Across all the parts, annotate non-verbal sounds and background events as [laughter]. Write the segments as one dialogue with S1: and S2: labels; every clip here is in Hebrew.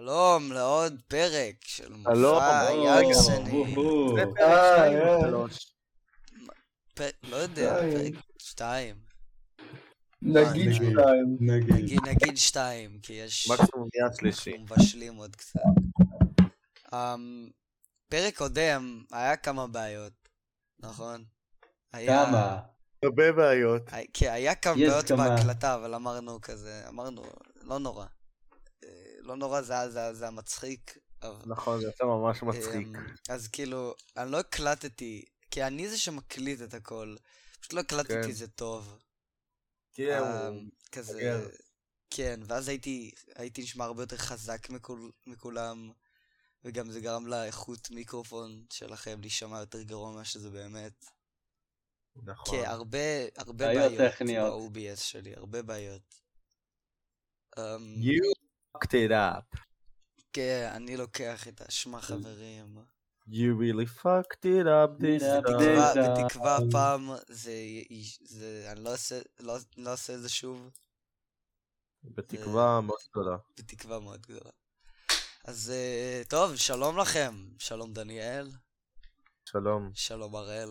S1: שלום לעוד פרק של
S2: שלום,
S1: מופע
S2: שלום.
S1: יגסני.
S2: זה פרק
S3: אה,
S2: שתיים או
S3: אה.
S2: שלוש.
S1: פ- לא יודע,
S3: שתיים.
S1: פרק שתיים.
S3: נגיד
S1: אה,
S3: שתיים.
S4: נגיד.
S1: נגיד, נגיד שתיים, כי יש...
S2: מקסימום נהיה שלישי.
S1: אנחנו מבשלים עוד קצת. Um, פרק קודם היה כמה בעיות, נכון? היה-
S4: כמה?
S3: הרבה בעיות.
S1: הי- כן, היה כמה
S4: יש
S1: בעיות
S4: כמה.
S1: בהקלטה, אבל אמרנו כזה, אמרנו, לא נורא. אה, לא נורא זה היה- זה היה- זה היה מצחיק. אבל-
S2: נכון, זה יצא ממש מצחיק.
S1: אמ, אז כאילו, אני לא הקלטתי, כי אני זה שמקליט את הכל. פשוט לא
S2: כן.
S1: הקלטתי זה טוב.
S4: כן,
S1: אמ, כזה...
S4: מתבגר.
S1: כן, ואז הייתי, הייתי נשמע הרבה יותר חזק מכול, מכולם, וגם זה גרם לאיכות מיקרופון שלכם להישמע יותר גרוע ממה שזה באמת.
S2: נכון.
S1: כן, הרבה, הרבה
S4: בעיות
S1: בעיות.
S4: טכניות.
S1: ב-OBS שלי, הרבה בעיות. אמ,
S2: You fucked it up.
S1: כן, אני לוקח את האשמה, חברים.
S2: You really fucked it up this
S4: Yeah,
S2: time.
S4: because-
S1: בתקווה,
S4: אה,
S1: בתקווה
S4: אה.
S1: הפעם זה, י- זה, אני לא אעשה, לא, לא אעשה את זה שוב, אה.
S2: בתקווה מאוד גדולה.
S1: בתקווה מאוד גדולה. אז אה, טוב, שלום לכם. שלום דניאל,
S2: שלום.
S1: שלום הראל.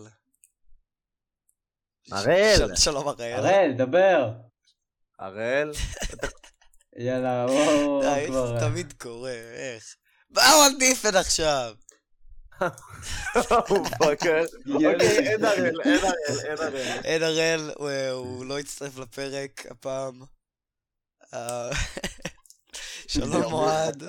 S1: ש-
S2: הראל!
S1: של- שלום הראל.
S4: הראל, דבר.
S2: הראל?
S4: יאללה, וואו,
S1: די,
S4: כבר.
S1: אה, זה [laughs] תמיד קורה, איך? באו על דיפן עכשיו!
S2: הוא
S1: [laughs]
S2: פאקר.
S4: יאללה.
S2: אוקיי, אין הראל, אין הראל, אין הראל.
S1: אין הראל, הוא- הוא לא הצטרף לפרק הפעם. אה, [laughs] שלום אוהד.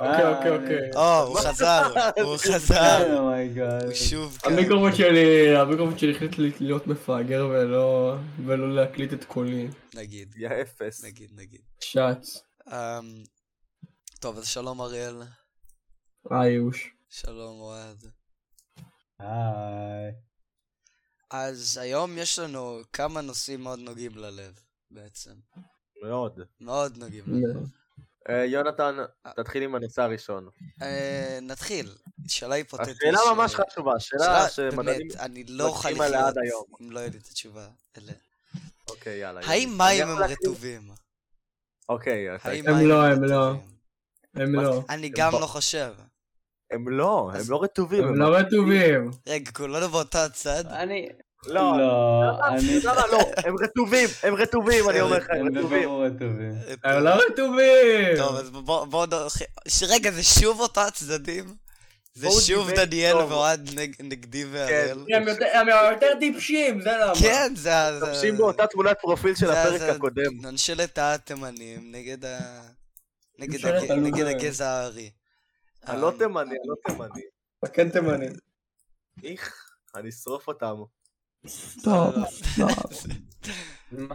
S3: אוקיי, אוקיי, אוקיי.
S1: או, הוא חזר, הוא חזר.
S4: אה, אומייגאד.
S1: הוא שוב כן, כאן.
S3: המיקרופון שלי, המיקרופון שלי החליט לי- להיות מפגר ולא, ולא להקליט את קולי.
S1: נגיד,
S2: יא אפס.
S1: נגיד, נגיד.
S3: שץ.
S1: אמ, טוב, אז שלום אריאל,
S3: איוש.
S1: שלום אוהד.
S4: היי.
S1: אז היום יש לנו כמה נושאים מאוד נוגעים ללב, בעצם.
S2: מאוד.
S1: מאוד נוגעים
S3: לא.
S1: ללב.
S2: אה, יונתן, תתחיל עם הנושא הראשון.
S1: אה, נתחיל, שאלה היפותטית.
S2: השאלה
S1: ש-
S2: ממש חשובה, שאלה
S1: שאלה,
S2: שמדענים...
S1: באמת, אני לא אוכל
S2: מתאים עליה
S1: לחיות
S2: עד היום.
S1: אם לא יהיה לי את התשובה אליה.
S2: אוקיי, יאללה.
S1: האם
S2: יאללה.
S1: מים
S2: אני
S1: הם
S2: יכול להתחיל?
S1: רטובים?
S2: אוקיי, אתה-
S1: האם
S3: הם
S1: מים
S3: לא, הם לא.
S1: רטובים?
S3: הם לא.
S1: אני גם לא חושב.
S2: הם לא,
S1: אז-
S2: הם לא רטובים.
S3: הם לא רטובים.
S1: רגע, כולנו באותו הצד?
S4: אני...
S2: לא,
S4: לא, אני...
S2: לא, לא, הם רטובים, הם רטובים, אני אומר לך,
S4: הם
S2: הם רטובים.
S4: בבירור רטובים.
S2: אה,
S3: הם לא רטובים!
S1: טוב, אז בואו בוא, נרחיב. ש- רגע, זה שוב אותו הצדדים? זה
S2: בואו
S1: שוב
S2: דיבייט
S1: דניאל
S2: טוב.
S1: ואוהד נג, נגדי והראל?
S2: כן,
S3: הם יותר- הם יותר טיפשים, זה לא. למה.
S1: כן, זה ה... זה-
S2: משתמשים באותה תמונת פרופיל של
S1: זה-
S2: הפרק
S1: זה-
S2: הקודם.
S1: ממשלת התימנים נגד ה... נגד,
S3: ממשלת
S1: הג...
S3: הלוזרים.
S1: נגד הגזע הארי.
S2: אני לא
S1: אמ,
S2: תימני, אני לא תימני.
S3: כן תימני.
S2: איך, אני אשרוף אותם.
S3: סטופ.
S1: [laughs] לא.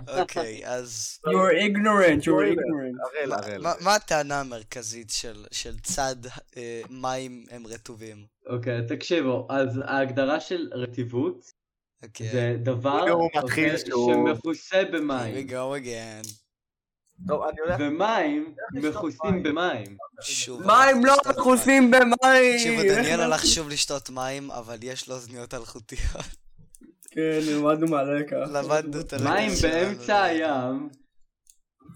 S1: אוקיי, אז...
S3: You're ignorant, you're ignorant.
S2: הראל,
S1: מה-
S2: הראל.
S1: מה- מה הטענה המרכזית של, של צד אה, מים הם רטובים?
S4: אוקיי, תקשיבו, אז ההגדרה של רטיבות
S1: אוקיי.
S4: זה דבר
S2: הנה הוא מתחיל
S4: אוקיי,
S2: שהוא-
S4: שמכוסה
S1: Here
S4: במים.
S1: we go again.
S2: טוב, אני הולך...
S4: ומים
S2: איך לשתות
S4: מכוסים
S2: מים?
S4: במים.
S1: שוב.
S3: מים לא
S1: סתם.
S3: מכוסים
S4: [laughs]
S3: במים!
S1: תקשיבו, דניאל הלך שוב לשתות מים, אבל יש לו אוזניות אלחוטיות.
S3: כן, נלמדנו מהלקח.
S1: למדנו את הלקח.
S4: מים
S1: שלנו,
S4: באמצע
S1: לא.
S4: הים,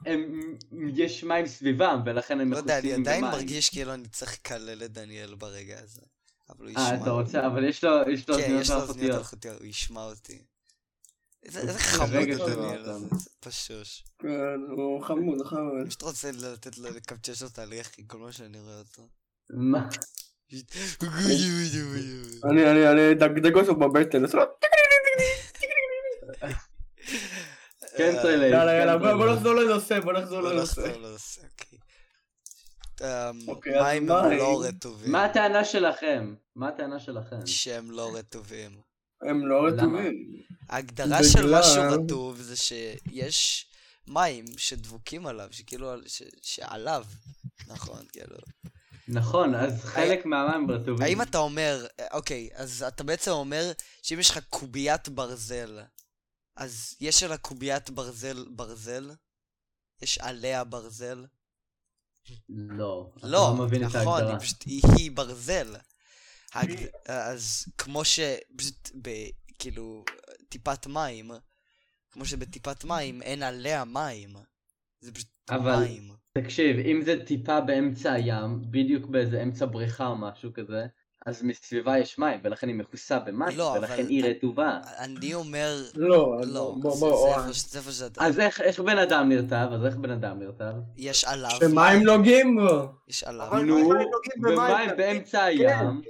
S4: הם- יש מים סביבם, ולכן הם
S1: לא יודע, אני
S4: מכוסים
S1: עדיין
S4: במים.
S1: מרגיש כאילו אני צריך לקלל את דניאל ברגע הזה. אבל הוא ישמע.
S4: אה, אתה רוצה, אבל יש לו יש לו
S1: כן,
S4: אוזניות
S1: יש לו אוזניות
S4: אלחוטיות.
S1: אלחוטיות, הוא ישמע אותי. איזה איזה חמוד
S4: רגע שלא
S1: הדניאל הזה,
S4: אותנו.
S1: זה פשוש.
S3: כן, הוא חמוד, הוא חמוד.
S1: אני פשוט רוצה לתת לו לקמצ'ש אותו על יחי, כל מה שאני רואה אותו.
S4: מה?
S3: אני, אני, אני אדגדג אותו בבטן. לא עושה לו,
S4: כן,
S1: אה,
S4: טרלייז.
S3: לא, יאללה,
S4: כן,
S3: יאללה, בוא
S4: טרלייז.
S3: בוא נחזור לנושא, בוא נחזור
S1: לא
S3: לנושא.
S1: נחזור לנושא, אוקיי. אמ,
S3: אוקיי, אז
S1: מים הם
S3: מים.
S1: לא רטובים.
S4: מה הטענה שלכם? מה הטענה שלכם?
S1: שהם לא רטובים.
S3: הם לא
S4: למה?
S3: רטובים.
S1: ההגדרה של
S3: בגלל-
S1: משהו רטוב זה שיש מים שדבוקים עליו, שכאילו, על- ש- שעליו, נכון, כאילו.
S4: נכון, אז חלק מהמים רטובים.
S1: האם אתה אומר, אוקיי, אז אתה בעצם אומר שאם יש לך קוביית ברזל, אז יש על הקוביית ברזל ברזל? יש עליה ברזל?
S4: לא. אתה
S1: לא,
S4: מבין את
S1: נכון,
S4: ההגדרה.
S1: היא פשוט, היא, היא ברזל. ההגד... אז כמו ש... פשוט ב... כאילו, טיפת מים, כמו שבטיפת מים אין עליה מים. זה פשוט
S4: אבל-
S1: מים.
S4: תקשיב, אם זה טיפה באמצע הים, בדיוק באיזה אמצע בריכה או משהו כזה, אז מסביבה יש מים, ולכן היא מכוסה במים,
S1: לא,
S4: ולכן
S1: אבל-
S4: היא רטובה.
S1: אני אומר,
S3: לא, אז
S1: לא,
S3: בוא, בוא,
S1: זה-
S3: בוא,
S1: זה
S3: אוהן.
S1: איפה ש- זה איפה שאתה...
S4: אז איך, איך בן אדם נרטב? אז איך בן אדם נרטב?
S1: יש עליו.
S3: שמים נוגעים בו.
S1: יש עליו. לא,
S2: אבל
S4: נו,
S2: אם מים נוגעים במים,
S4: במים באמצע הים,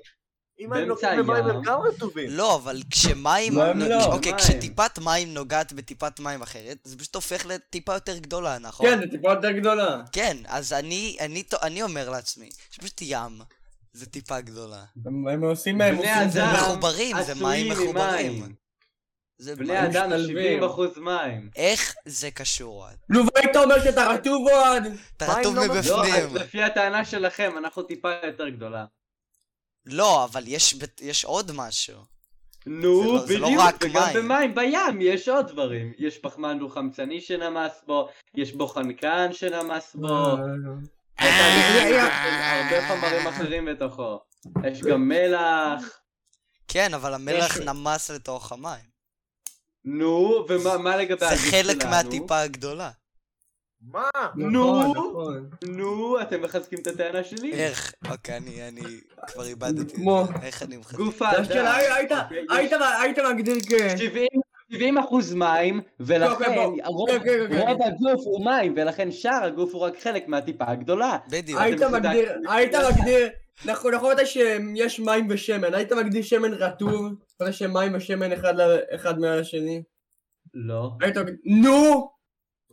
S2: אם הם
S4: באמצע
S2: נוגעים במים
S4: הים.
S2: הם גם רטובים.
S1: לא, אבל כשמים...
S3: אוקיי. מים
S1: נוג-
S3: לא,
S1: אוקיי,
S4: מים.
S1: כשטיפת מים נוגעת בטיפת מים אחרת, זה פשוט הופך לטיפה יותר גדולה, נכון?
S3: כן, זה טיפה יותר גדולה.
S1: כן, אז אני, אני, טו- אני אומר לעצמי, שפשוט ים זה טיפה גדולה.
S3: הם הם עושים הם
S4: בני
S3: עושים זה.
S4: אדם.
S3: בחור-
S1: מחוברים, זה מים
S4: עשויים
S1: מחוברים.
S4: ממים.
S1: זה
S4: בני
S1: מים.
S4: אדם
S3: משתלבים.
S4: 70% מים.
S1: איך זה קשור?
S3: נו, והיית אומר שאתה רטוב אוהד?
S1: אתה
S2: מים
S1: רטוב
S2: לא מביאים.
S4: לא,
S1: מבפנים.
S4: אז לפי הטענה שלכם, אנחנו טיפה יותר גדולה.
S1: לא, אבל יש בת- יש עוד משהו. זה
S4: נו,
S1: לא- זה לא
S4: בדיוק,
S1: רק
S4: וגם
S1: מים.
S4: במים, בים, יש עוד דברים. יש פחמן דו-חמצני שנמס בו, יש בו חנקן שנמס
S3: אה,
S4: בו, הרבה חומרים אחרים בתוכו. יש גם מלח.
S1: כן, אבל המלח
S3: יש-
S1: נמס לתוך המים.
S4: נו, ומה מה לגבי
S1: זה
S4: הגוף
S1: חלק
S4: שלנו?
S1: מהטיפה הגדולה.
S2: מה?
S3: נכון,
S4: נו.
S3: נכון.
S4: נו, אתם מחזקים את הטענה שלי.
S1: איך? אוקיי, אני אני כבר איבדתי. את זה.
S3: מו.
S1: איך אני מחזק?
S4: גוף
S3: אז כן,
S4: האדם.
S3: היית- היית- היית- היית מגדיר כ...
S4: 70 אחוז מים, ולכן
S3: אוקיי, בוא.
S4: הרוב-
S3: אוקיי, אוקיי, אוקיי.
S4: רוב הגוף הוא מים, ולכן שאר הגוף הוא רק חלק מהטיפה הגדולה.
S1: בדיוק.
S3: היית
S4: אתם
S3: מגדיר,
S4: צדקתם.
S3: היית מגדיר, נכון, נכון אתה שיש מים ושמן, היית מגדיר שמן רטוב, אתה יודע שמים ושמן אחד ל- אחד מעל השני,
S4: לא.
S3: היית מגדיר, נו!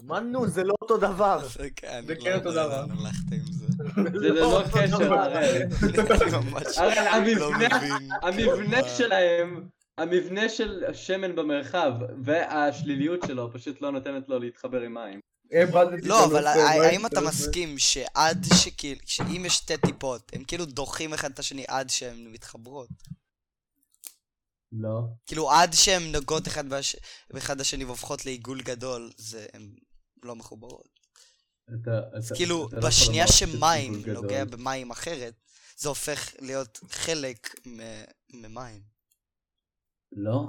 S2: מה נו? זה לא אותו דבר.
S1: אוקיי, אני
S3: זה
S1: לא
S3: כן אותו
S1: יודע
S3: דבר.
S1: לאן הלכת עם זה.
S3: לא,
S4: זה ללא קשר, הראל.
S1: אני ממש
S4: הראל,
S1: לא
S4: המבנה-
S1: מבין.
S4: המבנה
S1: מה.
S4: שלהם, המבנה של השמן במרחב והשליליות שלו פשוט לא נותנת לו להתחבר עם מים.
S3: איבדתי
S1: לא,
S3: את
S1: אבל
S3: הנושא,
S1: ה-
S3: לא
S1: האם אתה
S3: הייתי-
S1: מסכים שעד שכאילו, שאם יש שתי טיפות, הם כאילו דוחים אחד את השני עד שהן מתחברות?
S4: לא.
S1: כאילו עד שהן נוגעות אחד בש- באחד השני והופכות לעיגול גדול, זה הן לא מחוברות. אז כאילו,
S4: לא
S1: בשנייה שמים נוגע במים אחרת, זה הופך להיות חלק מ- ממים.
S4: לא.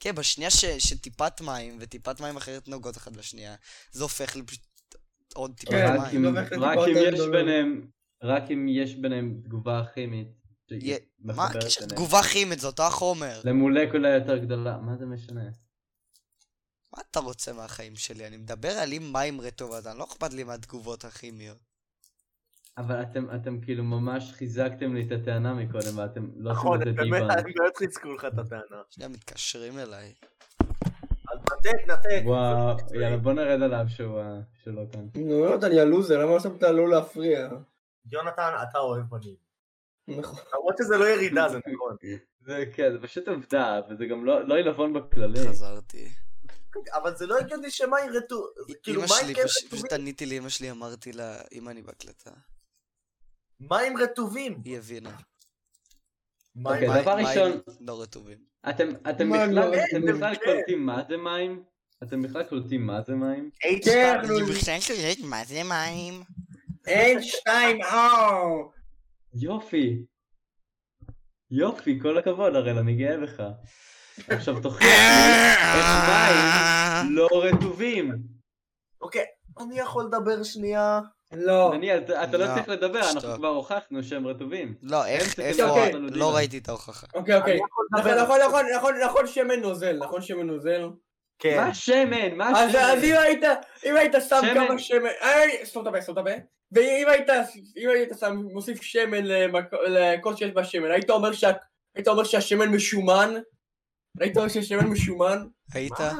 S1: כן, בשנייה ש- שטיפת מים וטיפת מים אחרת נוגעות אחת לשנייה, זה הופך לפשוט עוד טיפת
S3: כן,
S4: רק
S1: מים.
S4: אם- רק
S3: הופך לטיפה
S4: אם יש
S3: יותר גדולה.
S4: ביניהם, רק אם יש ביניהם תגובה כימית. שהיא
S1: יה- מה
S4: מחברת
S1: הקשר?
S4: ביניהם.
S1: תגובה כימית, זה אותו החומר.
S4: למולקולה יותר גדולה, מה זה משנה?
S1: מה אתה רוצה מהחיים שלי? אני מדבר על אם מים רטובות, אני לא אכפת לי מהתגובות הכימיות.
S4: אבל אתם, אתם כאילו ממש חיזקתם לי את הטענה מקודם ואתם לא
S2: נכון,
S4: עושים
S2: הם
S4: את זה
S2: באמת
S4: דיבה.
S2: הם באמת חיזקו לך את הטענה.
S1: שנייה מתקשרים אליי.
S2: אז נתק, נתק.
S3: [laughs]
S4: וואו, יאללה בוא נרד עליו שהוא ה- שהוא לא כאן.
S3: נו, יונתן, יא לוזר, למה שמת לא להפריע?
S2: יונתן, אתה אוהב בנים.
S3: נכון.
S2: למרות שזה לא ירידה, זה נכון.
S4: זה כן, זה פשוט עובדה, וזה גם לא לא עילבון בכללי.
S1: חזרתי.
S2: אבל זה לא הגיוני שמים רטוב. זה כאילו
S1: אמא
S2: מים
S1: שלי,
S2: כן
S1: פש-
S2: רטובים.
S1: פשוט עניתי לאמא שלי, אמרתי לה, אמא אני בהקלטה.
S2: מים רטובים.
S1: היא הבינה.
S4: אוקיי,
S2: מים
S4: דבר
S1: מים
S4: ראשון-
S1: לא רטובים.
S4: אתם אתם
S3: מה,
S4: בכלל
S3: לא,
S4: אתם
S3: זה
S4: בכלל
S2: כן.
S4: קולטים מה זה מים? אתם בכלל קולטים מה זה מים?
S2: H2.
S3: כן,
S4: אה.
S1: אני בכלל שואלת מה זה מים?
S3: H2O!
S4: יופי. יופי, כל הכבוד הראל, אני גאה בך. עכשיו תוכיח לי איך מים לא רטובים.
S2: אוקיי, אני יכול לדבר שנייה?
S3: לא.
S4: דניאל, אתה אתה לא
S1: לא,
S4: צריך לדבר, אנחנו
S1: שתוק.
S4: כבר הוכחנו שהם רטובים.
S1: לא, איך,
S4: אוקיי,
S1: איפה,
S3: אוקיי.
S1: לא ראיתי את ההוכחה.
S3: אוקיי, אוקיי.
S2: אני יכול
S3: נכון,
S2: לדבר?
S3: נכון, נכון, נכון, נכון, שמן נוזל, נכון, שמן נוזל.
S2: כן.
S4: מה שמן? מה
S3: אז אז
S4: שמן?
S3: אם היית, אם היית שם
S4: שמן.
S3: כמה שמן, איי, סתום את הפה, סתום את הפה, ואם היית, אם היית שם, מוסיף שמן למק- לכל שיש בה שמן, היית אומר שה- היית אומר שהשמן משומן? היית אומר שהשמן משומן?
S1: היית?
S2: מה?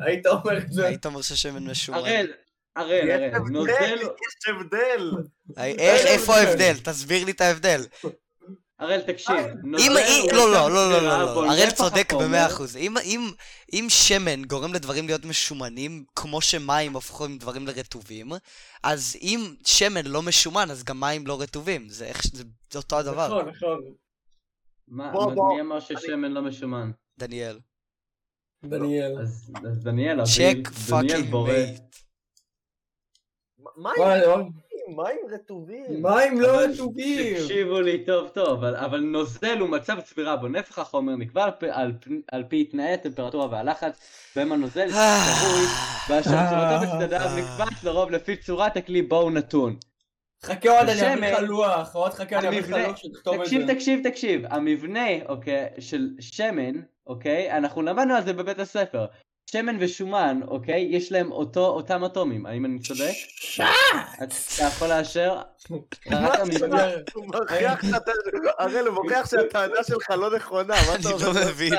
S3: היית אומר את זה?
S1: היית אומר ששמן משומן?
S4: הראל, הראל,
S2: לא- יש
S4: הראל,
S2: הבדל,
S4: נוזל,
S2: יש הבדל.
S1: הי- איך,
S3: אה,
S1: איפה
S3: אה,
S1: ההבדל? תסביר לי את ההבדל.
S4: הראל תקשיב,
S2: אה,
S4: נוזל,
S1: אם, אם,
S4: הוא
S1: לא, לא,
S4: יותר
S1: לא, לא,
S4: גדולה,
S1: לא,
S4: אבל
S1: לא, הראל
S4: נפח
S1: צודק
S4: החומר-
S1: במאה אחוז. אם, אם, אם שמן גורם לדברים להיות משומנים, כמו שמים הופכים דברים לרטובים, אז אם שמן לא משומן, אז גם מים לא רטובים. זה, איך, זה, זה אותו הדבר, לא.
S3: נכון, נכון.
S4: מה,
S2: בוא, בוא,
S4: מי אמר ששמן לא משומן?
S1: דניאל.
S3: דניאל.
S4: אז אז דניאל, אביב,
S1: צ'ק
S4: דניאל
S1: [laughs] פאקינג
S4: בורא.
S1: מייט.
S2: מה
S3: וואי, וואי.
S2: עם מים רטובים.
S3: מים לא
S4: אבל
S3: רטובים.
S4: תקשיבו לי טוב טוב, אבל- אבל נוזל הוא מצב צבירה בו נפח החומר נקבע על פי- על פי- על פי תנאי הטמפרטורה והלחץ, בהם הנוזל
S1: אה,
S4: קרוי, ואשר צורתו בצדדיו נקבעת לרוב לפי צורת הכלי בו הוא נתון.
S3: חכה עוד, אני אביא לך
S4: השמן-
S3: לוח, עוד חכה, אני אביא לך
S4: המבנה-
S3: לוח שתכתוב את זה.
S4: תקשיב, תקשיב, תקשיב, המבנה, אוקיי, של שמן, אוקיי, אנחנו למדנו על זה בבית הספר. שמן ושומן, אוקיי, יש להם אותו, אותם אטומים, האם אני צודק? אתה יכול לאשר? רק המבנה-
S2: הוא מוכיח שאתה... הראל, הוא מוכיח שהטענה שלך לא נכונה, מה
S1: אני
S2: אתה
S1: לא
S2: אומר?
S1: מבין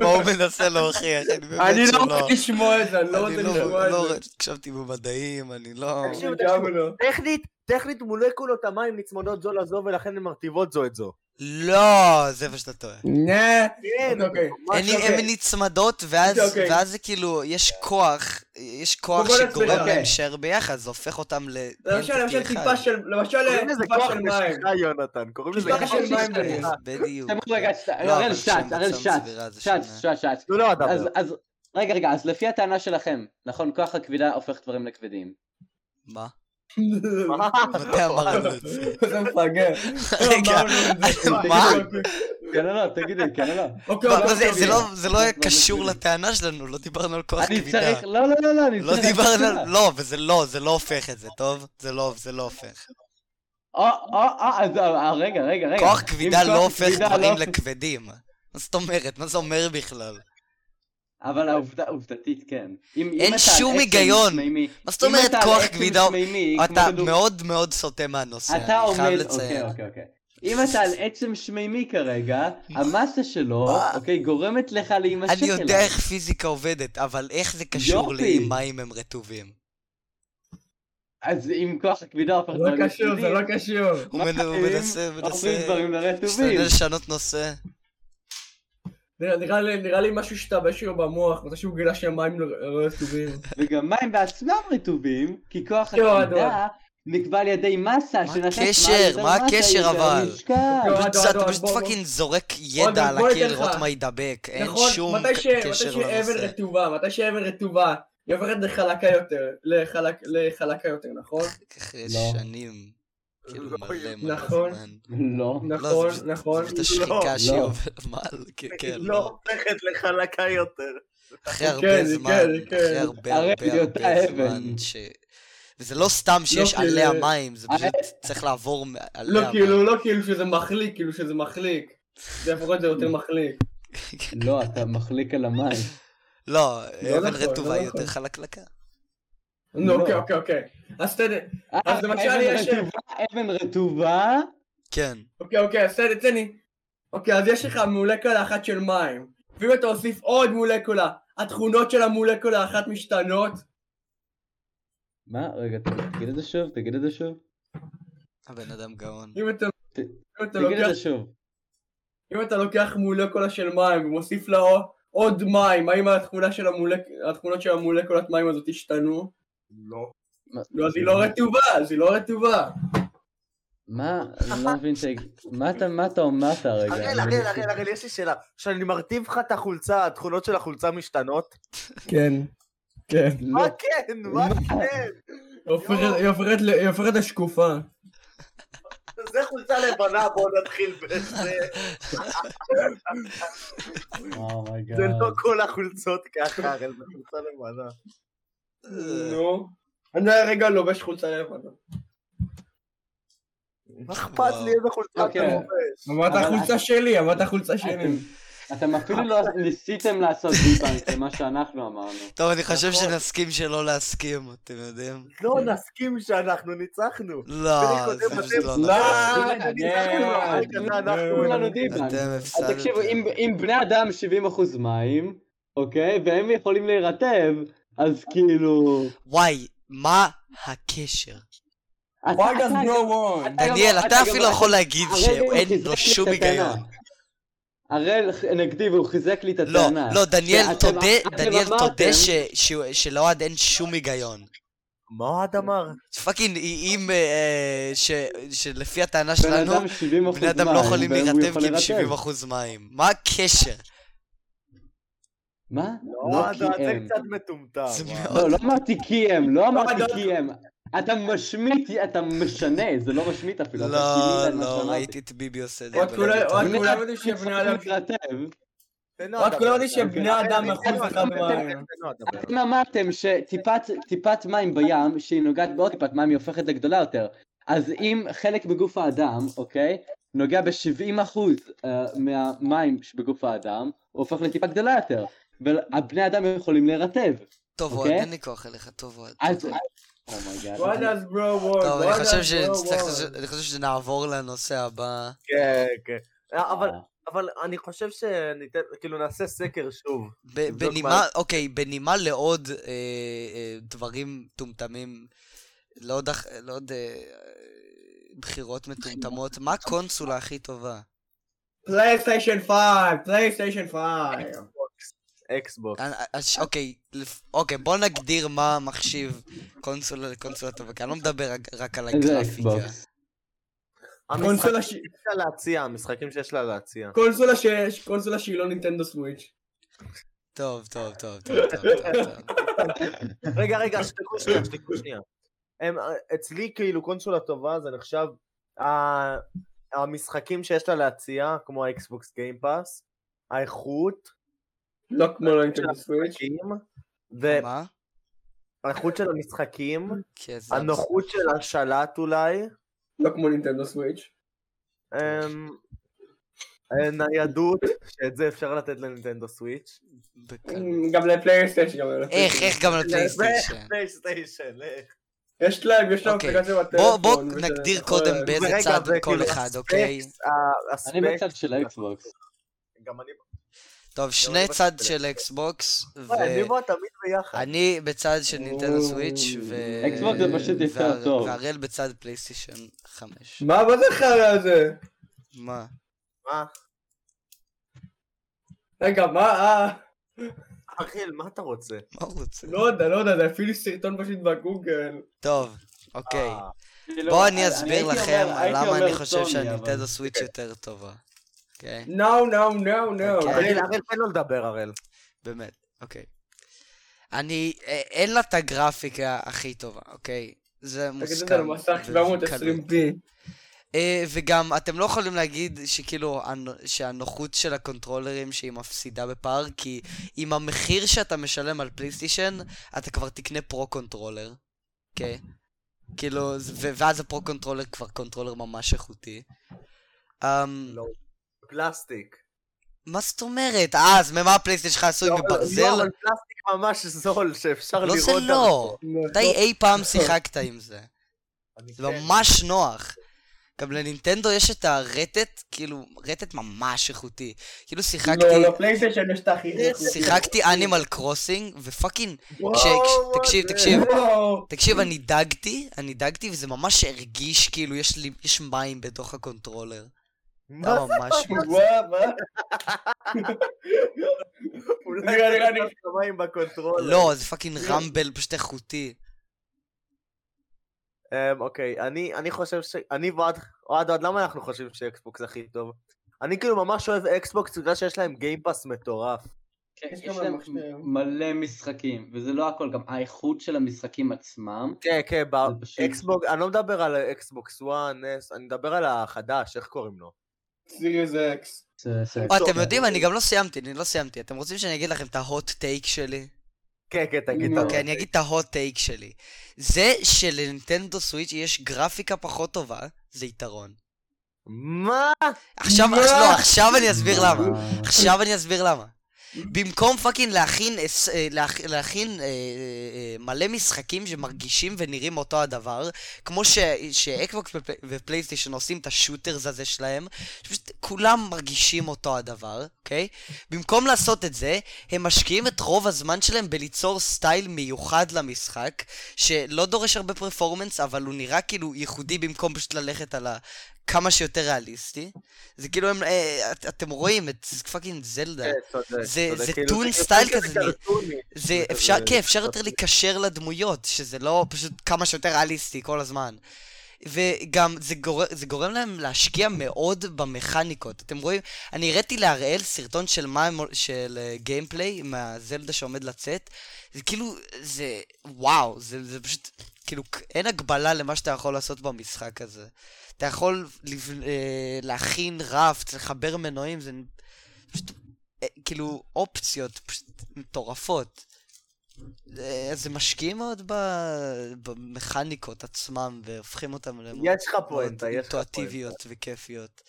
S1: מה הוא מנסה להוכיח, אני
S3: אני
S1: באמת
S3: לא
S1: שלא.
S3: רוצה לשמוע את זה, אני לא
S1: אני
S3: רוצה לשמוע
S1: לא-
S3: את
S1: לא
S3: זה.
S1: הקשבתי במדעים, אני לא...
S2: תקשיב,
S3: גם לא.
S2: טכנית, טכנית מולקולות המים נצמדות זו לזו ולכן הן מרטיבות זו את זו.
S1: לא, זה מה שאתה טועה.
S3: נה,
S2: כן,
S3: אוקיי.
S1: הן
S3: אוקיי.
S1: הן נצמדות, ואז
S3: אוקיי.
S1: ואז זה כאילו, יש כוח, יש כוח
S3: בוא נסביר,
S1: שגורם
S3: אוקיי.
S1: להם שער ביחד, זה הופך אותם ל...
S3: למשל, למשל טיפה של, למשל
S2: קוראים לזה
S3: טיפה
S2: כוח
S3: של מים.
S2: משיכה, יונתן. קוראים לזה
S3: טיפה
S2: כוח
S3: של מים
S2: משיכה.
S1: בדיוק.
S4: תמוך רגע, שת-
S1: לא, אבל
S4: הראל שץ,
S1: שם-
S4: הראל
S1: שם
S4: שץ,
S1: צבירה זה שונה.
S4: שץ, שץ, שץ.
S2: תנו לו
S4: אז,
S2: לדבר.
S4: אז, רגע, רגע, אז לפי הטענה שלכם, נכון, כוח הכבידה הופך דברים לכבדים.
S1: מה?
S2: מה?
S1: מתי אמרנו את זה?
S3: זה מפגר.
S1: רגע, מה?
S4: כן או לא, תגידי, כן או לא.
S3: אוקיי,
S1: מה,
S3: אוקיי,
S1: זה-
S3: אוקיי.
S1: זה לא- זה לא
S4: לא,
S1: היה
S4: לא
S1: קשור
S4: מסביר.
S1: לטענה שלנו, לא דיברנו על [laughs] כוח
S4: אני
S1: כבידה.
S4: צריך, לא, לא, לא, לא, אני
S1: לא
S4: צריך...
S1: דיברנו
S4: רק-
S1: על... לא, וזה לא, זה לא הופך את זה, טוב? זה לא, זה לא הופך.
S4: או, או, או, אז אה, רגע, רגע, רגע.
S1: כוח
S4: אם
S1: כבידה לא הופך
S4: כבידה לא
S1: דברים
S4: הופך-
S1: לכבדים. מה זאת אומרת? מה זה אומר בכלל?
S4: אבל העובדה, עובדתית כן. אם- אם
S1: אין
S4: אתה על
S1: שום
S4: עצם
S1: היגיון.
S4: שמימי-
S1: מה זאת
S4: אם
S1: אומרת
S4: אתה על
S1: כוח
S4: עצם
S1: כבידה?
S4: שמימי, כמו
S1: אתה
S4: כדור-
S1: מאוד מאוד סוטה מהנושא,
S4: אתה
S1: אני חייב
S4: עומד,
S1: לציין.
S4: אוקיי, אוקיי, אוקיי. אם אתה על עצם שמימי
S1: [laughs]
S4: כרגע, המסה שלו,
S1: מה?
S4: אוקיי, גורמת לך להימשך
S1: אה. אני
S4: אליו.
S1: יודע איך פיזיקה עובדת, אבל איך זה קשור
S4: יופי.
S1: לאם מים הם רטובים?
S4: אז אם כוח הכבידה הופך
S3: זה לא קשור,
S4: לכבדים,
S3: זה לא קשור.
S1: הוא מנ- הוא
S4: אם
S1: מנסה,
S4: הופכים
S1: מנסה,
S4: דברים לרטובים.
S1: משתדל לשנות נושא.
S3: נראה- נראה לי- נראה לי משהו השתבש לו במוח, מתי שהוא גילה שהמים לא לא רטובים.
S4: וגם מים בעצמם רטובים, כי כוח
S3: יואו,
S4: הכבידה נקבע על ידי מסה
S1: מה
S4: שנתת
S1: הקשר? מה הקשר, אבל?
S3: לא,
S1: אתה-
S3: עד, עד,
S1: אתה
S3: עד,
S1: פשוט
S3: בוא, בוא.
S1: פאקינג זורק
S3: עוד,
S1: ידע על
S3: בוא
S1: הקיר
S3: ניתן לך.
S1: לראות מה ידבק, אין
S3: נכון,
S1: שום
S3: מתי
S1: ק-
S3: ש- מתי
S1: קשר
S3: שאבן
S1: לנושא.
S3: רטובה, מתי שאבן רטובה, היא הופכת לחלקה יותר, לחלק- לחלקה יותר, נכון?
S1: אחרי
S4: לא.
S1: שנים, כאילו
S2: לא,
S1: מלא מלא
S3: נכון.
S1: זמן.
S4: לא.
S3: נכון,
S1: פשוט-
S3: נכון.
S1: זאת השחיקה
S2: לא.
S1: שהיא
S4: לא.
S1: עוברת, מה? כן, כן,
S2: היא לא
S1: לא.
S2: הופכת לחלקה יותר.
S1: אחרי
S3: כן,
S1: הרבה זמן,
S3: כן.
S1: אחרי הרבה
S4: הרי
S1: הרבה
S4: היא אותה
S1: הרבה
S4: אבן.
S1: זמן ש... וזה לא סתם שיש
S3: כי-
S1: עליה מים, זה
S4: אה,
S1: פשוט צריך לעבור מ-
S3: לא
S1: עליה מים.
S3: כאילו, לא כאילו שזה מחליק, כאילו שזה מחליק. זה לפחות זה יותר מחליק.
S4: לא, אתה מחליק על המים.
S1: לא,
S3: לא
S1: אבן
S3: נכון, לא
S1: רטובה היא יותר
S3: נכון.
S1: חלקלקה.
S3: נו,
S4: לא.
S3: אוקיי, אוקיי, אוקיי. אז תן,
S4: אה,
S3: למשל
S4: אבן
S3: יש-
S4: רטובה- אבן רטובה,
S1: כן.
S3: אוקיי, אוקיי, אז תן, תן לי. אוקיי, אז יש לך מולקולה אחת של מים. ואם אתה הוסיף עוד מולקולה, התכונות של המולקולה האחת משתנות.
S4: מה? רגע, ת- תגיד את זה שוב, תגיד את זה שוב.
S1: הבן אדם גאון.
S3: אם אתה...
S4: ת-
S3: אם אתה
S4: תגיד
S3: לוקח
S4: את זה שוב.
S3: אם אתה לוקח מולקולה של מים ומוסיף לה עוד מים, האם התכונה של המולק... התכונות של המולקולת מים הזאת השתנו?
S2: לא.
S3: לא, אז היא לא רטובה, אז היא לא רטובה.
S4: מה? אני לא מבין, ת- מה אתה, מה אתה אמרת רגע?
S2: הראל, הראל, הראל, הראל, יש לי שאלה. כשאני מרטיב לך את החולצה, התכונות של החולצה משתנות?
S3: כן. כן.
S4: לא.
S2: מה כן? מה כן?
S3: היא הופכת ל- היא הופכת לשקופה.
S2: זה חולצה לבנה, בואו נתחיל בזה.
S4: אומייגאד.
S2: זה לא כל החולצות ככה, הראל, זה חולצה לבנה.
S3: נו. אני הרגע לובש חולצה לבנה.
S2: מה אכפת לי איזה חולצה אתה
S4: אוקיי.
S2: לובש?
S3: אמרת
S4: אבל-
S3: החולצה שלי, אמרת החולצה שלי.
S4: אתם אפילו לא ניסיתם לעשות דיבנק למה שאנחנו אמרנו.
S1: טוב, אני חושב
S2: נכון.
S1: שנסכים שלא להסכים, אתם יודעים?
S2: לא נסכים שאנחנו ניצחנו.
S1: לא,
S2: קודם
S1: זה
S2: אתם-
S1: פשוט לא
S3: לא,
S1: נכון.
S2: לא,
S4: תנו לנו דיבנק.
S1: אתם
S4: אז
S1: הפסדתם.
S4: תקשיבו, אם- אם בני אדם 70% מים, אוקיי, והם יכולים להירטב, אז כאילו...
S1: וואי, מה הקשר?
S4: אתה-
S3: Why does
S4: אתה-
S3: no one?
S4: גם-
S1: דניאל, אתה
S4: אתה גם-
S1: אפילו יכול להגיד
S4: הרי הוא
S1: שאין
S4: חיזק
S1: לו
S4: לי
S1: שום
S4: לא- את
S1: היגיון.
S4: הטענה. הראל נגדי והוא חיזק לי את
S1: לא,
S4: הטענה.
S1: לא, דניאל,
S4: שאתם-
S1: תודה,
S4: אתם
S1: דניאל,
S4: אמרתם-
S1: תודה ש- ש- שלאוהד אין שום היגיון.
S2: מה אוהד אמר?
S1: פאקינג, אם, אה, אה, ש- שלפי הטענה
S4: בן
S1: שלנו,
S4: אדם 70 אחוז
S1: בני אדם לא יכולים להירטב כי הם 70% מים. מה הקשר?
S4: מה?
S2: לא,
S4: לא
S2: אתה
S4: כי
S2: זה
S4: הם.
S2: לא, קצת מטומטם.
S1: זה
S2: וואי.
S1: מאוד-
S4: לא, לא אמרתי כי הם, לא אמרתי
S3: אדם-
S4: כי הם. אתה משמיט, אתה משנה, זה לא משמיט אפילו. אתה
S1: לא,
S4: כאילו
S1: לא,
S4: משנה.
S1: ראיתי את ביבי עושה את זה.
S3: עוד
S1: אבל
S3: כולה-
S1: לא
S3: עוד
S1: בטוח.
S4: בני
S3: כולם יודעים שבני אדם...
S4: מתרטב.
S2: תן לו
S3: רק
S2: לדבר.
S3: כולם יודעים שבני אדם
S2: תן לו
S3: אחוז אחד
S2: לדבר,
S3: במים.
S2: תן לו לדבר.
S4: אתם אמרתם שטיפת טיפת מים בים, שהיא נוגעת בעוד טיפת מים, היא הופכת לגדולה יותר. אז אם חלק בגוף האדם, אוקיי, נוגע ב-70% אה, מהמים שבגוף האדם, הוא הופך לטיפה גדולה יותר. והבני אדם יכולים להירטב.
S1: טוב עוד,
S4: אוקיי?
S1: אין לי כוח אליך, טוב עוד.
S4: אז... אומייגאד.
S3: וואלאס ברו וואלאס.
S1: טוב, אני
S3: לא,
S1: חושב שנצטרך, אני חושב שנעבור לנושא הבא.
S2: כן, כן. אה, אבל- אבל אני חושב שניתן, כאילו נעשה סקר שוב.
S1: ב-
S2: נבדוק
S1: בנימה,
S2: מה-
S1: אוקיי, בנימה לעוד אה, אה, דברים מטומטמים, לעוד אח- לעוד אה, בחירות מטומטמות, מה הקונסולה הכי טובה?
S3: פלייסטיישן 5! פלייסטיישן 5!
S2: אקסבוקס.
S1: אה, אה, ש- אוקיי, לפ- אוקיי, בוא נגדיר מה מחשיב קונסולה לקונסולה טובה, כי אני לא מדבר רק- רק על
S4: איזה
S1: הגרפיקה.
S4: אקסבוקס.
S2: המשחקים
S3: אה, קונסולה ש-
S2: שיש לה להציע, המשחקים שיש לה להציע.
S3: קונסולה ש- קונסולה שהיא לא נינטנדו סוויץ'.
S1: טוב, טוב, טוב, טוב, טוב, טוב, טוב.
S2: רגע, רגע, שתקו שנייה, שתקו שנייה. הם, אצלי כאילו קונסולה טובה זה נחשב ה- המשחקים שיש לה להציע, כמו האקסבוקס גיימפאס, האיכות,
S3: לא כמו לא נינטנדו סוויץ'.
S2: המשחקים, והאיכות
S1: מה?
S2: של המשחקים,
S1: כן, זה-
S2: הנוחות של השלט אולי,
S3: לא כמו נינטנדו סוויץ'.
S2: אמ, אה, ניידות, שאת זה אפשר לתת לנינטנדו סוויץ',
S1: בקלות.
S3: כן. גם לפלייסטיישן. גם
S1: איך,
S3: לפלייסטיישן.
S1: איך גם לפלייסטיישן?
S2: פלייסטיישן, איך?
S3: יש להם, יש להם
S1: אוקיי.
S3: אפליקציה
S1: בוא-
S3: בטלפון.
S1: בוא
S3: וזה- נכון.
S1: נגדיר
S3: יכול-
S1: קודם באיזה
S2: ורגע,
S1: צד
S2: וכאילו
S1: כל אחד,
S2: הספקס,
S1: אוקיי?
S2: ה-
S4: אני
S2: הספקס-
S4: בצד של אקסבוקס.
S2: גם אני
S1: טוב, שני צד של אקסבוקס,
S4: אה,
S2: וואי, אני
S1: ואני
S2: בוא לא, תמיד ביחד.
S1: בצד של נינטנדו
S3: או.
S1: סוויץ', ו...
S4: אקסבוקס זה פשוט יותר
S1: והר-
S4: טוב.
S1: והראל בצד פלייסטיישן 5.
S3: מה, מה זה חרא הזה?
S1: מה?
S2: מה?
S3: רגע, מה, אה,
S2: אריאל, מה אתה רוצה?
S1: מה הוא רוצה?
S3: לא יודע, לא יודע, זה אפילו סרטון פשוט בגוגל.
S1: טוב, אוקיי.
S2: אה,
S1: בואו אני אסביר
S4: כאילו, לא הייתי
S1: לכם
S4: אומר- הייתי
S1: למה
S4: אומר
S1: אני חושב
S4: סוני, אבל-
S1: שהנינטנדו סוויץ' יותר טובה. אוקיי?
S3: No, no, no, no.
S1: אוקיי.
S2: אראל, אראל, תן לו לדבר, אראל.
S1: באמת, אוקיי. אני, אה, אין לה את הגרפיקה הכי טובה, אוקיי? זה
S3: תגיד
S1: מוסכם.
S3: את זה למסך 720p.
S1: אה, וגם, אתם לא יכולים להגיד שכאילו, הנ- שהנוחות של הקונטרולרים שהיא מפסידה בפער, כי עם המחיר שאתה משלם על פלייסטיישן, אתה כבר תקנה פרו קונטרולר, אוקיי? כאילו, ז- ו- ואז הפרו קונטרולר כבר קונטרולר ממש איכותי. אמ,
S2: לא. פלסטיק.
S1: מה זאת אומרת? אה, אז ממה הפלייסטיישן שלך עשוי
S2: לא, אבל- לא,
S1: מברזל?
S2: אבל פלסטיק ממש זול, שאפשר
S1: לא
S2: לראות...
S1: זה לא. מתי אי פעם שיחקת עם זה?
S2: אני-
S1: זה ממש נוח. גם לנינטנדו יש את הרטט, כאילו, רטט ממש איכותי. כאילו שיחקתי,
S3: לא, לא, פלייסטיישן יש את הכי...
S1: שיחקתי אנימל קרוסינג, ופאקינג,
S2: וואו,
S1: כש-
S2: וואו,
S1: תקשיב,
S2: זה-
S1: תקשיב.
S3: וואו.
S1: תקשיב, אני דגתי, אני דגתי, וזה ממש הרגיש כאילו יש לי, יש מים בתוך הקונטרולר.
S2: מה
S1: זה
S2: זה?
S1: ממש...
S3: וואו, מה?
S2: אולי
S3: רגע, רגע,
S2: זה
S3: רגע.
S2: שמיים בקונטרול.
S1: לא, זה פאקינג רמבל פשוט איכותי.
S2: אמ, אוקיי, אני אני חושב ש... אני ואוהד... אוהד, אוהד, למה אנחנו חושבים שאקסבוקס הכי טוב? אני כאילו ממש אוהב אקסבוקס בגלל שיש להם גיימפאס מטורף.
S4: כן,
S3: יש
S4: יש
S3: גם
S4: להם
S3: מחשב.
S4: מלא משחקים, וזה לא הכל, גם האיכות של המשחקים עצמם.
S2: כן, כן, ב-
S4: זה פשוט-
S2: אקסבוקס, אני לא מדבר על אקסבוקס 1, S, אני מדבר על החדש, איך קוראים לו?
S3: סיריוס אקס.
S4: זה- זה-
S1: או, אתם יודעים, אני גם לא סיימתי, אני לא סיימתי. אתם רוצים שאני אגיד לכם את ההוט טייק שלי?
S2: כן, כן, תגיד.
S4: נו.
S1: אוקיי, אני אגיד את ההוט טייק שלי. זה שלנינטנדו סוויץ' יש גרפיקה פחות טובה, זה יתרון.
S2: מה?
S1: עכשיו,
S3: מה?
S1: לא, עכשיו אני אסביר
S4: מה?
S1: למה. עכשיו אני אסביר למה. במקום פאקינג להכין, אס- אה, להכ- להכין אה, אה, אה, מלא משחקים שמרגישים ונראים אותו הדבר, כמו ש- שאקבוקס ופל- ופלייסטיישן עושים את השוטרס הזה שלהם, שפשוט כולם מרגישים אותו הדבר, אוקיי? במקום לעשות את זה, הם משקיעים את רוב הזמן שלהם בליצור סטייל מיוחד למשחק, שלא דורש הרבה פרפורמנס, אבל הוא נראה כאילו ייחודי במקום פשוט ללכת על ה... כמה שיותר ריאליסטי. זה כאילו הם... אה, את- אתם רואים את פאקינג זלדה.
S2: כן, צודק,
S1: זה-
S2: צודק,
S1: זה
S2: כאילו,
S1: טון
S2: יותר
S1: סטייל
S2: כזה
S1: כזה, נראה.
S2: קרטוני.
S1: זה
S2: זה
S1: אפשר,
S2: כזה-
S1: כן, אפשר יותר לקשר לדמויות, שזה לא פשוט כמה שיותר ריאליסטי כל הזמן. וגם זה, גור... זה גורם להם להשקיע מאוד במכניקות. אתם רואים, אני הראתי להראל סרטון של, מה... הם- של אה, גיימפליי מהזלדה שעומד לצאת. זה כאילו, זה וואו, זה, זה פשוט כאילו, אין הגבלה למה שאתה יכול לעשות במשחק הזה. אתה יכול לב... אה, להכין רף, לחבר מנועים, זה פשוט, אה, כאילו, אופציות פשוט מטורפות. אה, אז הם משקיעים מאוד ב... במכניקות עצמם, והופכים אותם למאוד
S2: יש לך פואנטה, יש לך פואנטה.
S1: אינטואטיביות וכיפיות.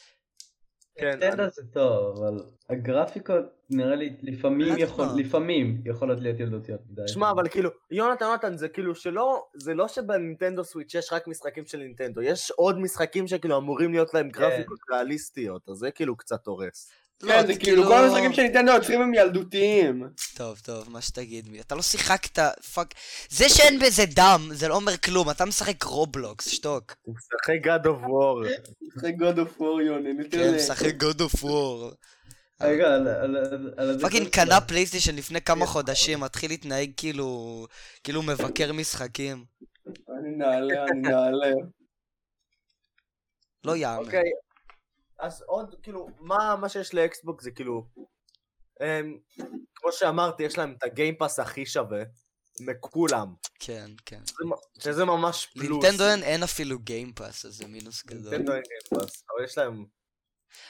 S2: כן,
S4: סטנדר זה טוב, אבל הגרפיקות נראה לי לפעמים
S1: אז
S4: יכול,
S1: מה?
S4: לפעמים יכולות להיות ילדותיות מדי.
S2: שמע, אבל כאילו, יונתן, יונתן, זה כאילו שלא, זה לא שבנינטנדו סוויץ' יש רק משחקים של נינטנדו, יש עוד משחקים שכאילו אמורים להיות
S4: כן.
S2: להם גרפיקות ריאליסטיות, אז זה כאילו קצת הורס.
S1: לא,
S3: כן, זה כאילו, כל המשחקים שניתן ליוצרים הם ילדותיים.
S1: טוב, טוב, מה שתגיד לי. אתה לא שיחקת, פאק... זה שאין בזה דם, זה לא אומר כלום, אתה משחק רובלוקס, שתוק.
S2: הוא משחק God of War.
S3: משחק God of War, יוני, ניתן
S1: כן,
S3: ל-
S1: משחק God of War.
S4: רגע, על- על- על- על הדקות
S1: פאקינג
S4: שלה.
S1: קנה פלייסטיישן לפני כמה חודשים, מתחיל להתנהג כאילו... כאילו מבקר משחקים.
S3: אני נעלה, אני נעלה.
S1: לא יאמן.
S2: אוקיי, אז עוד, כאילו, מה מה שיש לאקסבוקס זה כאילו, אמ, כמו שאמרתי, יש להם את הגיימפאס הכי שווה, מכולם,
S1: כן, כן.
S2: שזה ממש פלוס.
S1: לנינטנדו אין- אין אפילו גיימפאס, אז זה מינוס גדול.
S2: נינטנדו אין גיימפאס, אבל יש להם...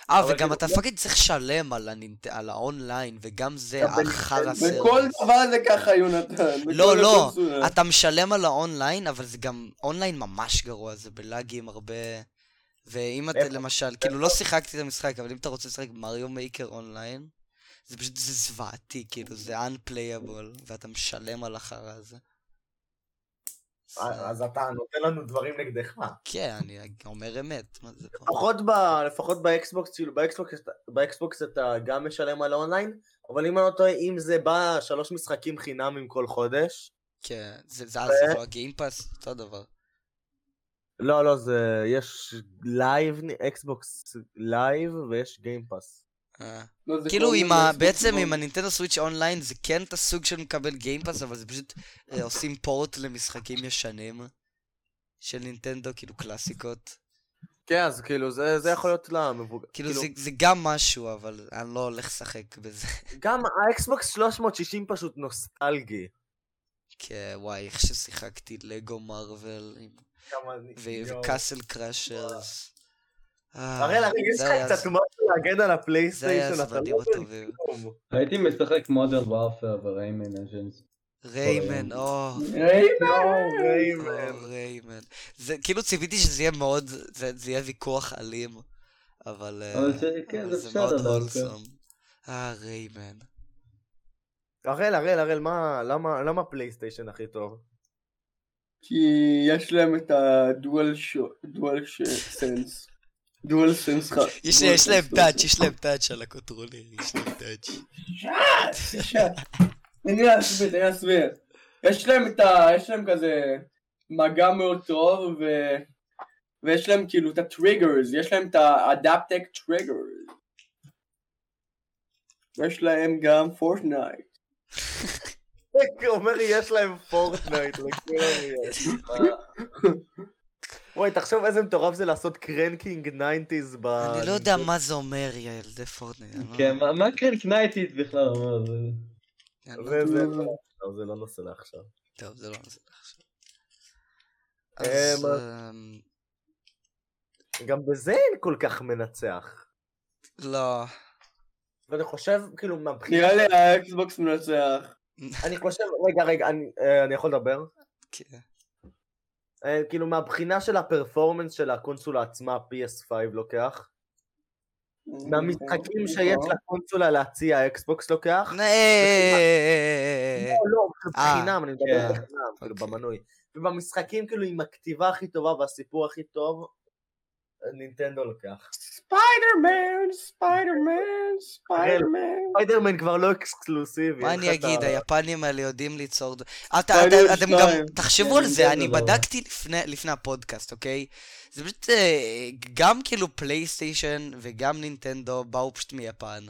S1: אה,
S2: אבל
S1: וגם
S2: כאילו,
S1: אתה פאקינג צריך לשלם על הנינט- על האונליין, וגם זה
S3: אתה בנ-
S1: אחר הסרט.
S3: בכל דבר זה ככה, יונתן. בכל
S1: לא, לא,
S3: הקונסולה.
S1: אתה משלם על האונליין, אבל זה גם אונליין ממש גרוע, זה בלאגים הרבה... ואם אתה
S2: איפה?
S1: למשל, כאילו לא שיחקתי את המשחק, אבל אם אתה רוצה לשחק מריו מייקר אונליין, זה פשוט זה זוועתי, כאילו זה unplayable, ואתה משלם על החרא הזה.
S2: אה, אז אתה נותן לנו דברים נגדך.
S1: כן, אני אומר אמת, מה זה פה?
S2: לפחות, ב, לפחות באקסבוקס, כאילו באקסבוקס, אתה- באקסבוקס אתה גם משלם על האונליין, אבל אם אני לא טועה, אם זה בא שלוש משחקים חינמים כל חודש,
S1: כן, זה זה אז
S2: ו-
S1: זה לא הגיימפאס, אותו דבר.
S2: לא, לא, זה, יש לייב, אקסבוקס לייב ויש גיימפאס.
S1: אה.
S3: לא, זה
S1: כאילו
S3: כמו
S1: עם ה...
S3: Xbox
S1: בעצם
S3: One.
S1: עם הנינטנדו סוויץ' אונליין זה כן את הסוג של מקבל גיימפאס, אבל זה פשוט אה, עושים פורט למשחקים ישנים של נינטנדו, כאילו קלאסיקות.
S2: כן, אז כאילו, זה, זה יכול להיות למבוגר.
S1: כאילו זה- זה גם משהו, אבל אני לא הולך לשחק בזה. [laughs]
S2: גם האקסבוקס 360 פשוט נוסטלגי.
S1: כן, וואי, איך ששיחקתי לגו מרוויל עם- ו- וקאסל קראשרס. אה,
S2: הראל, הרי יש
S1: זה
S2: לך
S1: היה-
S2: קצת משהו להגן על
S1: זה היה
S2: הפלייסטיישן, אתה
S1: הזמנים
S2: לא מבין
S1: הטובים.
S2: כלום.
S4: הייתי משחק מודרן וורפר וריימן אג'נס.
S1: אה, ריימן, או,
S3: ריימן!
S1: או,
S2: ריימן.
S1: ריימן. זה כאילו ציפיתי שזה יהיה מאוד, זה זה יהיה ויכוח אלים, אבל... אה,
S4: אבל זה כן,
S1: אבל
S4: זה
S1: זה
S4: בסדר.
S1: מאוד
S4: דווקא.
S1: הולסום. אה, ריימן.
S2: הראל, הראל, הראל, מה, למה, למה פלייסטיישן הכי טוב? [laughs]
S3: כי יש להם את הדואל דואל סנס. דואל סנס.
S1: יש יש להם טאץ', יש להם טאץ' על הקוטרולר, יש להם טאץ'.
S3: אני אסביר, אני אסביר. יש להם את ה... יש להם כזה מגע מאוד טוב, ו... ויש להם כאילו את הטריגרס, יש להם את האדפטק טריגרס. יש להם גם פורטנייט.
S2: אומר יש להם פורטנייט, [laughs] לכולם יש.
S1: [laughs]
S2: וואי, תחשוב איזה מטורף זה לעשות קרנקינג 90's ב...
S1: אני לא יודע מה זה אומר, יעל, זה פורטנייט. אני לא-
S4: אה, כן, מה- מה קרנק נייטית בכלל אומר? זה-
S1: אני לא-
S2: זה- זה- לא, זה לא נושא לעכשיו.
S1: טוב, זה לא נושא עכשיו.
S2: אה,
S1: אז...
S2: מה-
S1: אמ,
S2: גם בזה אין כל כך מנצח.
S1: לא.
S2: ואני חושב, כאילו, מהבחינה...
S3: נראה לי האקסבוקס מנצח.
S2: אני חושב, רגע, רגע, אני- אה, אני יכול לדבר?
S1: כן.
S2: אה, כאילו, מהבחינה של הפרפורמנס של הקונסולה עצמה, PS5
S1: אה,
S2: לוקח. מהמשחקים שיש לקונסולה להציע, האקסבוקס לוקח.
S1: נה, אה, אה, אה, אה, אה.
S2: לא, לא,
S1: אה,
S2: בחינם, אני
S4: כן,
S2: מדבר בחינם, כאילו
S1: אוקיי.
S2: במנוי. ובמשחקים, כאילו, עם הכתיבה הכי טובה והסיפור הכי טוב, נינטנדו לוקח.
S3: ספיידרמן, ספיידרמן, ספיידרמן.
S2: ספיידרמן כבר לא אקסקלוסיבי.
S1: מה
S2: אין לך
S1: אני
S2: את
S1: אגיד,
S2: ה-
S1: היפנים האלה יודעים ליצור... ד- אתה-
S3: ספיידרמן
S1: אתה- אתם גם...
S3: שתיים.
S1: תחשבו
S4: כן,
S1: על זה,
S4: זה
S1: אני
S4: דבר.
S1: בדקתי לפני- לפני הפודקאסט, אוקיי? זה פשוט... אה, גם כאילו פלייסטיישן וגם נינטנדו באו פשוט מיפן.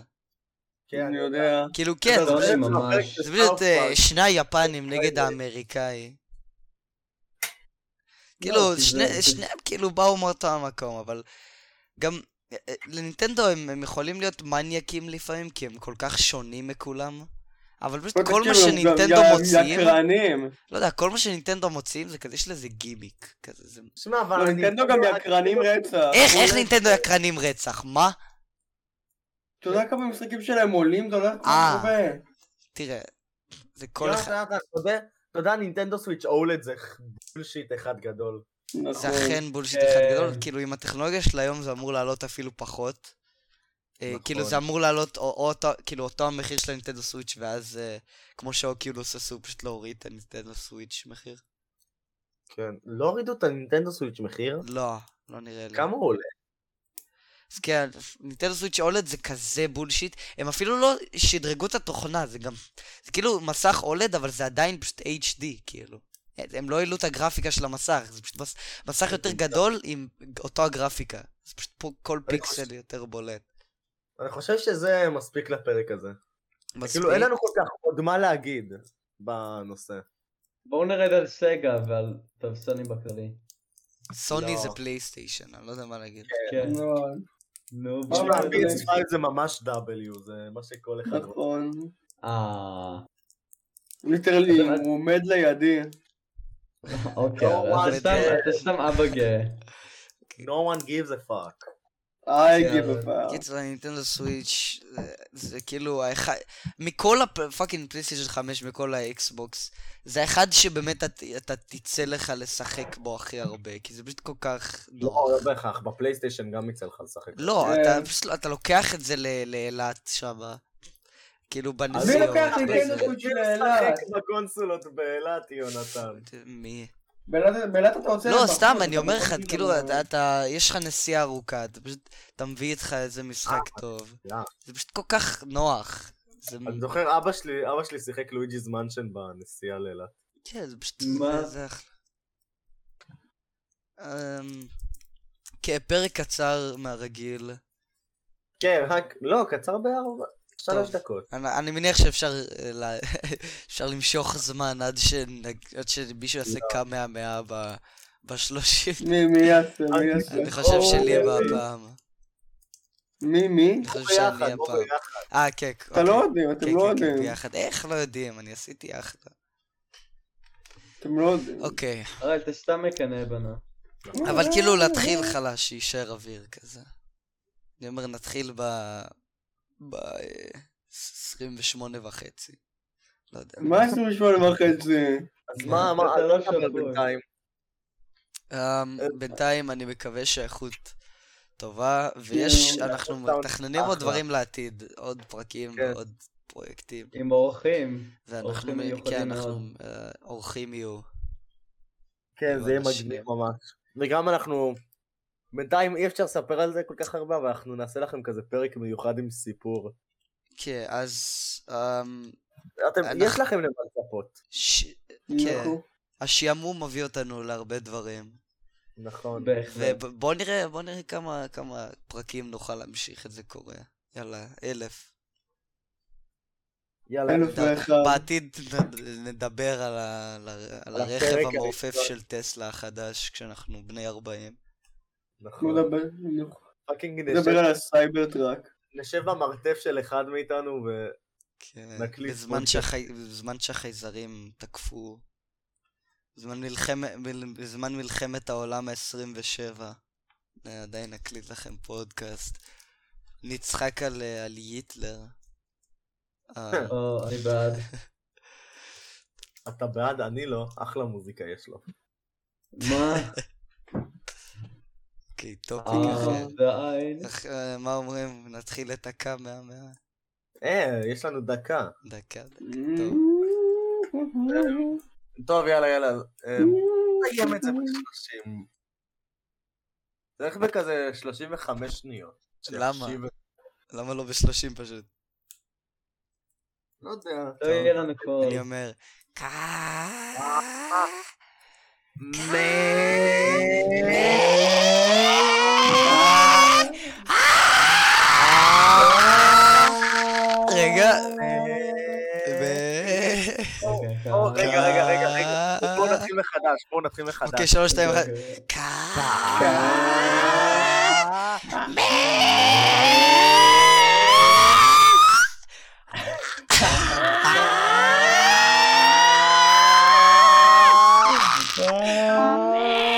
S2: כן,
S3: אני יודע.
S1: כאילו, כן,
S4: לא,
S1: זה
S4: אני
S1: פשוט-
S4: ממש-
S1: זה פשוט אה,
S2: סאוף
S1: שני יפנים נגד האמריקאי.
S4: לא,
S1: כאילו,
S4: כי
S1: שני-
S4: זה-
S1: שניהם כאילו באו מאותו המקום, אבל גם אה, אה, לנינטנדו הם הם יכולים להיות מניאקים לפעמים, כי הם כל כך שונים מכולם, אבל
S4: לא
S1: פשוט כל מה
S4: כאילו,
S1: שנינטנדו מוציאים,
S5: יקרנים.
S1: לא יודע, כל מה שנינטנדו מוציאים זה כזה, יש לזה גימיק. כזה, זה...
S2: שמע, אבל...
S5: לא, נינטנדו גם
S2: אני-
S5: יקרנים רצח.
S1: איך, איך נינטנדו יקרנים רצח? מה?
S5: אתה יודע כמה משחקים שלהם עולים? אתה יודע
S1: אה.
S5: הרבה.
S1: תראה, זה כל
S2: יונתן,
S1: אחד...
S2: יונתן, אתה יודע- אתה יודע, נינטנדו סוויץ' אולד זה בולשיט אחד גדול.
S1: זה
S5: נכון.
S1: אכן בולשיט
S5: כן.
S1: אחד גדול, כאילו עם הטכנולוגיה של היום זה אמור לעלות אפילו פחות. אה,
S2: נכון.
S1: כאילו זה אמור לעלות או, או אותו, כאילו אותו המחיר של הנינטנדו סוויץ' ואז אה, כמו שאוקיולוס עשו פשוט להוריד את הנינטנדו סוויץ' מחיר.
S2: כן. לא הורידו את הנינטנדו סוויץ' מחיר?
S1: לא, לא נראה לי.
S2: כמה הוא עולה?
S1: אז כן, ניטנדו סוויץ' אולד זה כזה בולשיט, הם אפילו לא שדרגו את התוכנה, זה גם, זה כאילו מסך אולד, אבל זה עדיין פשוט HD, כאילו. הם לא העלו את הגרפיקה של המסך, זה פשוט מס, מסך יותר גדול עם אותו הגרפיקה. זה פשוט פה כל
S2: אני
S1: פיקסל יותר בולט.
S2: אני חושב שזה מספיק לפרק הזה.
S1: מספיק?
S2: כאילו אין לנו כל כך עוד מה להגיד בנושא.
S1: לא,
S4: בואו נרד על סגה ועל טבסונים בכללי.
S1: סוני
S2: לא.
S1: זה פלייסטיישן, אני לא יודע מה להגיד.
S4: כן.
S5: נכון, בואו
S4: נו, בואו
S1: לא,
S2: תשמע,
S5: נעביר.
S4: נרד.
S2: PS5 זה ממש W, זה מה שכל אחד רוצה.
S5: נכון.
S4: אה...
S5: ליטרלי,
S4: אבל-
S5: הוא עומד לידי.
S4: אוקיי,
S2: לא,
S4: אז
S1: וואי,
S4: אתה סתם,
S1: זה-
S4: אתה סתם אבא גאה.
S2: No one gives a fuck.
S5: I
S1: כן,
S5: give a fuck.
S1: קיצור, הנינטנדו סוויץ' זה- זה כאילו האחד, מכל הפאקינג פלייסטיישן 5, מכל האקסבוקס, זה האחד שבאמת את- אתה תצא לך לשחק בו הכי הרבה, כי זה פשוט כל כך
S2: לא,
S1: נוח.
S2: לא בהכרח, בפלייסטיישן גם יצא לך לשחק.
S1: לא,
S5: כן.
S1: אתה פשוט, לא- אתה לוקח את זה ל- לאילת שמה, כאילו בנסיעות.
S3: מי לוקח כן נינטנדו
S1: וזה-
S3: סוויץ' של
S2: לשחק
S3: אילת?
S2: בקונסולות באילת, יונתן.
S1: מי?
S3: באילת- באילת אתה רוצה...
S1: לא,
S3: לבחור,
S1: סתם,
S3: אתה
S1: אני אומר לך,
S3: מפחיד
S1: כאילו,
S3: אותנו.
S1: אתה- אתה, יש לך נסיעה ארוכה, אתה פשוט, אתה מביא איתך איזה משחק
S3: אה,
S1: טוב.
S2: לא.
S1: זה פשוט כל כך נוח. זה
S2: אני זוכר אבא שלי, אבא שלי שיחק לואיג'יז מנשן בנסיעה לאילת.
S1: כן, זה פשוט...
S4: מה?
S1: זה- זה אחלה. אמ, כן, פרק קצר מהרגיל.
S2: כן, רק, לא, קצר בארבע, שלוש דקות.
S1: אני, אני מניח שאפשר אה, לה- [laughs] אפשר למשוך זמן עד, שנג- עד שמישהו יעשה קמאה מאה ב- בשלושים.
S5: מי, מי יעשה? מי
S2: אני-
S5: יעשה?
S3: לא
S1: אני חושב
S5: או,
S1: שלי
S5: אה,
S1: הפעם. אה.
S5: מי, מי?
S1: אני חושב שאני
S2: ביחד, לא
S1: הפעם.
S2: ביחד.
S1: אה, כן.
S5: אתה לא יודעים, אתם
S1: אוקיי,
S5: לא יודעים.
S1: ביחד. איך לא יודעים? אני עשיתי יחד.
S5: אתם לא יודעים. אה,
S1: אוקיי.
S4: הרי אתה סתם מקנא בנו.
S1: אבל כאילו להתחיל חלש, שיישאר אוויר כזה. אני אומר, נתחיל ב... ב... אה, 28 וחצי. לא יודע.
S5: מה 28 וחצי?
S2: אז
S5: כן.
S2: מה, מה,
S4: אתה לא
S2: אל תדבר
S4: שבוי.
S2: בינתיים.
S1: אמ, בינתיים אני מקווה שהאיכות טובה, ויש,
S2: כן,
S1: אנחנו
S2: לעשות סאונד
S1: מתכננים עוד
S2: אחלה.
S1: דברים לעתיד, עוד פרקים,
S2: כן.
S1: עוד פרויקטים,
S4: עם אורחים.
S1: ואנחנו,
S4: אורחים מיוחדים
S1: כן, אנחנו,
S4: מאוד.
S1: אה, אורחים יהיו.
S2: כן, זה יהיה
S1: ממש,
S2: מגניב
S1: כן.
S2: ממש. וגם אנחנו, בינתיים אי אפשר לספר על זה כל כך הרבה, אבל אנחנו נעשה לכם כזה פרק מיוחד עם סיפור.
S1: כן, אז, אמ,
S2: אתם,
S1: אנחנו-
S2: יש לכם למה לצפות.
S1: ש- כן,
S5: אנחנו-
S1: השעמום מביא אותנו להרבה דברים,
S2: נכון.
S4: בהחלט.
S1: ובואו נראה, בואו נראה כמה, כמה פרקים נוכל להמשיך את זה קורה. יאללה, אלף.
S2: יאללה. נכון.
S5: אלף ואחד.
S1: בעתיד נ- נדבר על, ה, על ה- על הרכב
S2: הפרק
S1: המעופף
S2: הראשון.
S1: של טסלה החדש כשאנחנו בני 40.
S5: אנחנו
S2: נכון.
S5: נדבר- אנחנו
S2: פאקינג
S5: נדבר על
S2: נשב-
S5: הסייבר טראק.
S2: נשב במרתף של אחד מאיתנו ו...
S1: כן,
S2: נקליט
S1: בזמן,
S2: פודקאסט.
S1: שהחי... בזמן שהחייזרים תקפו, בזמן מלחמת, בזמן מלחמת העולם ה-27, עדיין נקליט לכם פודקאסט. נצחק על, אה, על היטלר.
S2: [laughs]
S1: אה,
S4: או, אני בעד.
S2: אתה בעד, אני לא, אחלה מוזיקה יש לו.
S4: מה?
S1: אוקיי, טופיק אחר.
S4: אה, די.
S1: אך, אה, מה אומרים? נתחיל את הקו מהמאה?
S2: אה, יש לנו דקה.
S1: דקה, דקה, טוב.
S5: Mm-hmm.
S2: טוב, יאללה, יאללה. אה,
S3: [laughs]
S2: נסיים את זה ב-30. צריך בכזה 35 שניות.
S1: למה?
S2: שיקשיב-
S1: למה לא בשלושים פשוט?
S2: לא יודע.
S4: לא יהיה לנו קול.
S1: אני אומר, "קה- רגע. ו-
S4: אוקיי,
S2: או,
S4: ככה.
S2: רגע, רגע, רגע, רגע. בואו נתחיל מחדש, בואו נתחיל
S1: אוקיי,
S2: מחדש.
S1: שלוש, שתיים, אחת.
S4: אוקיי.
S1: קה- אמן.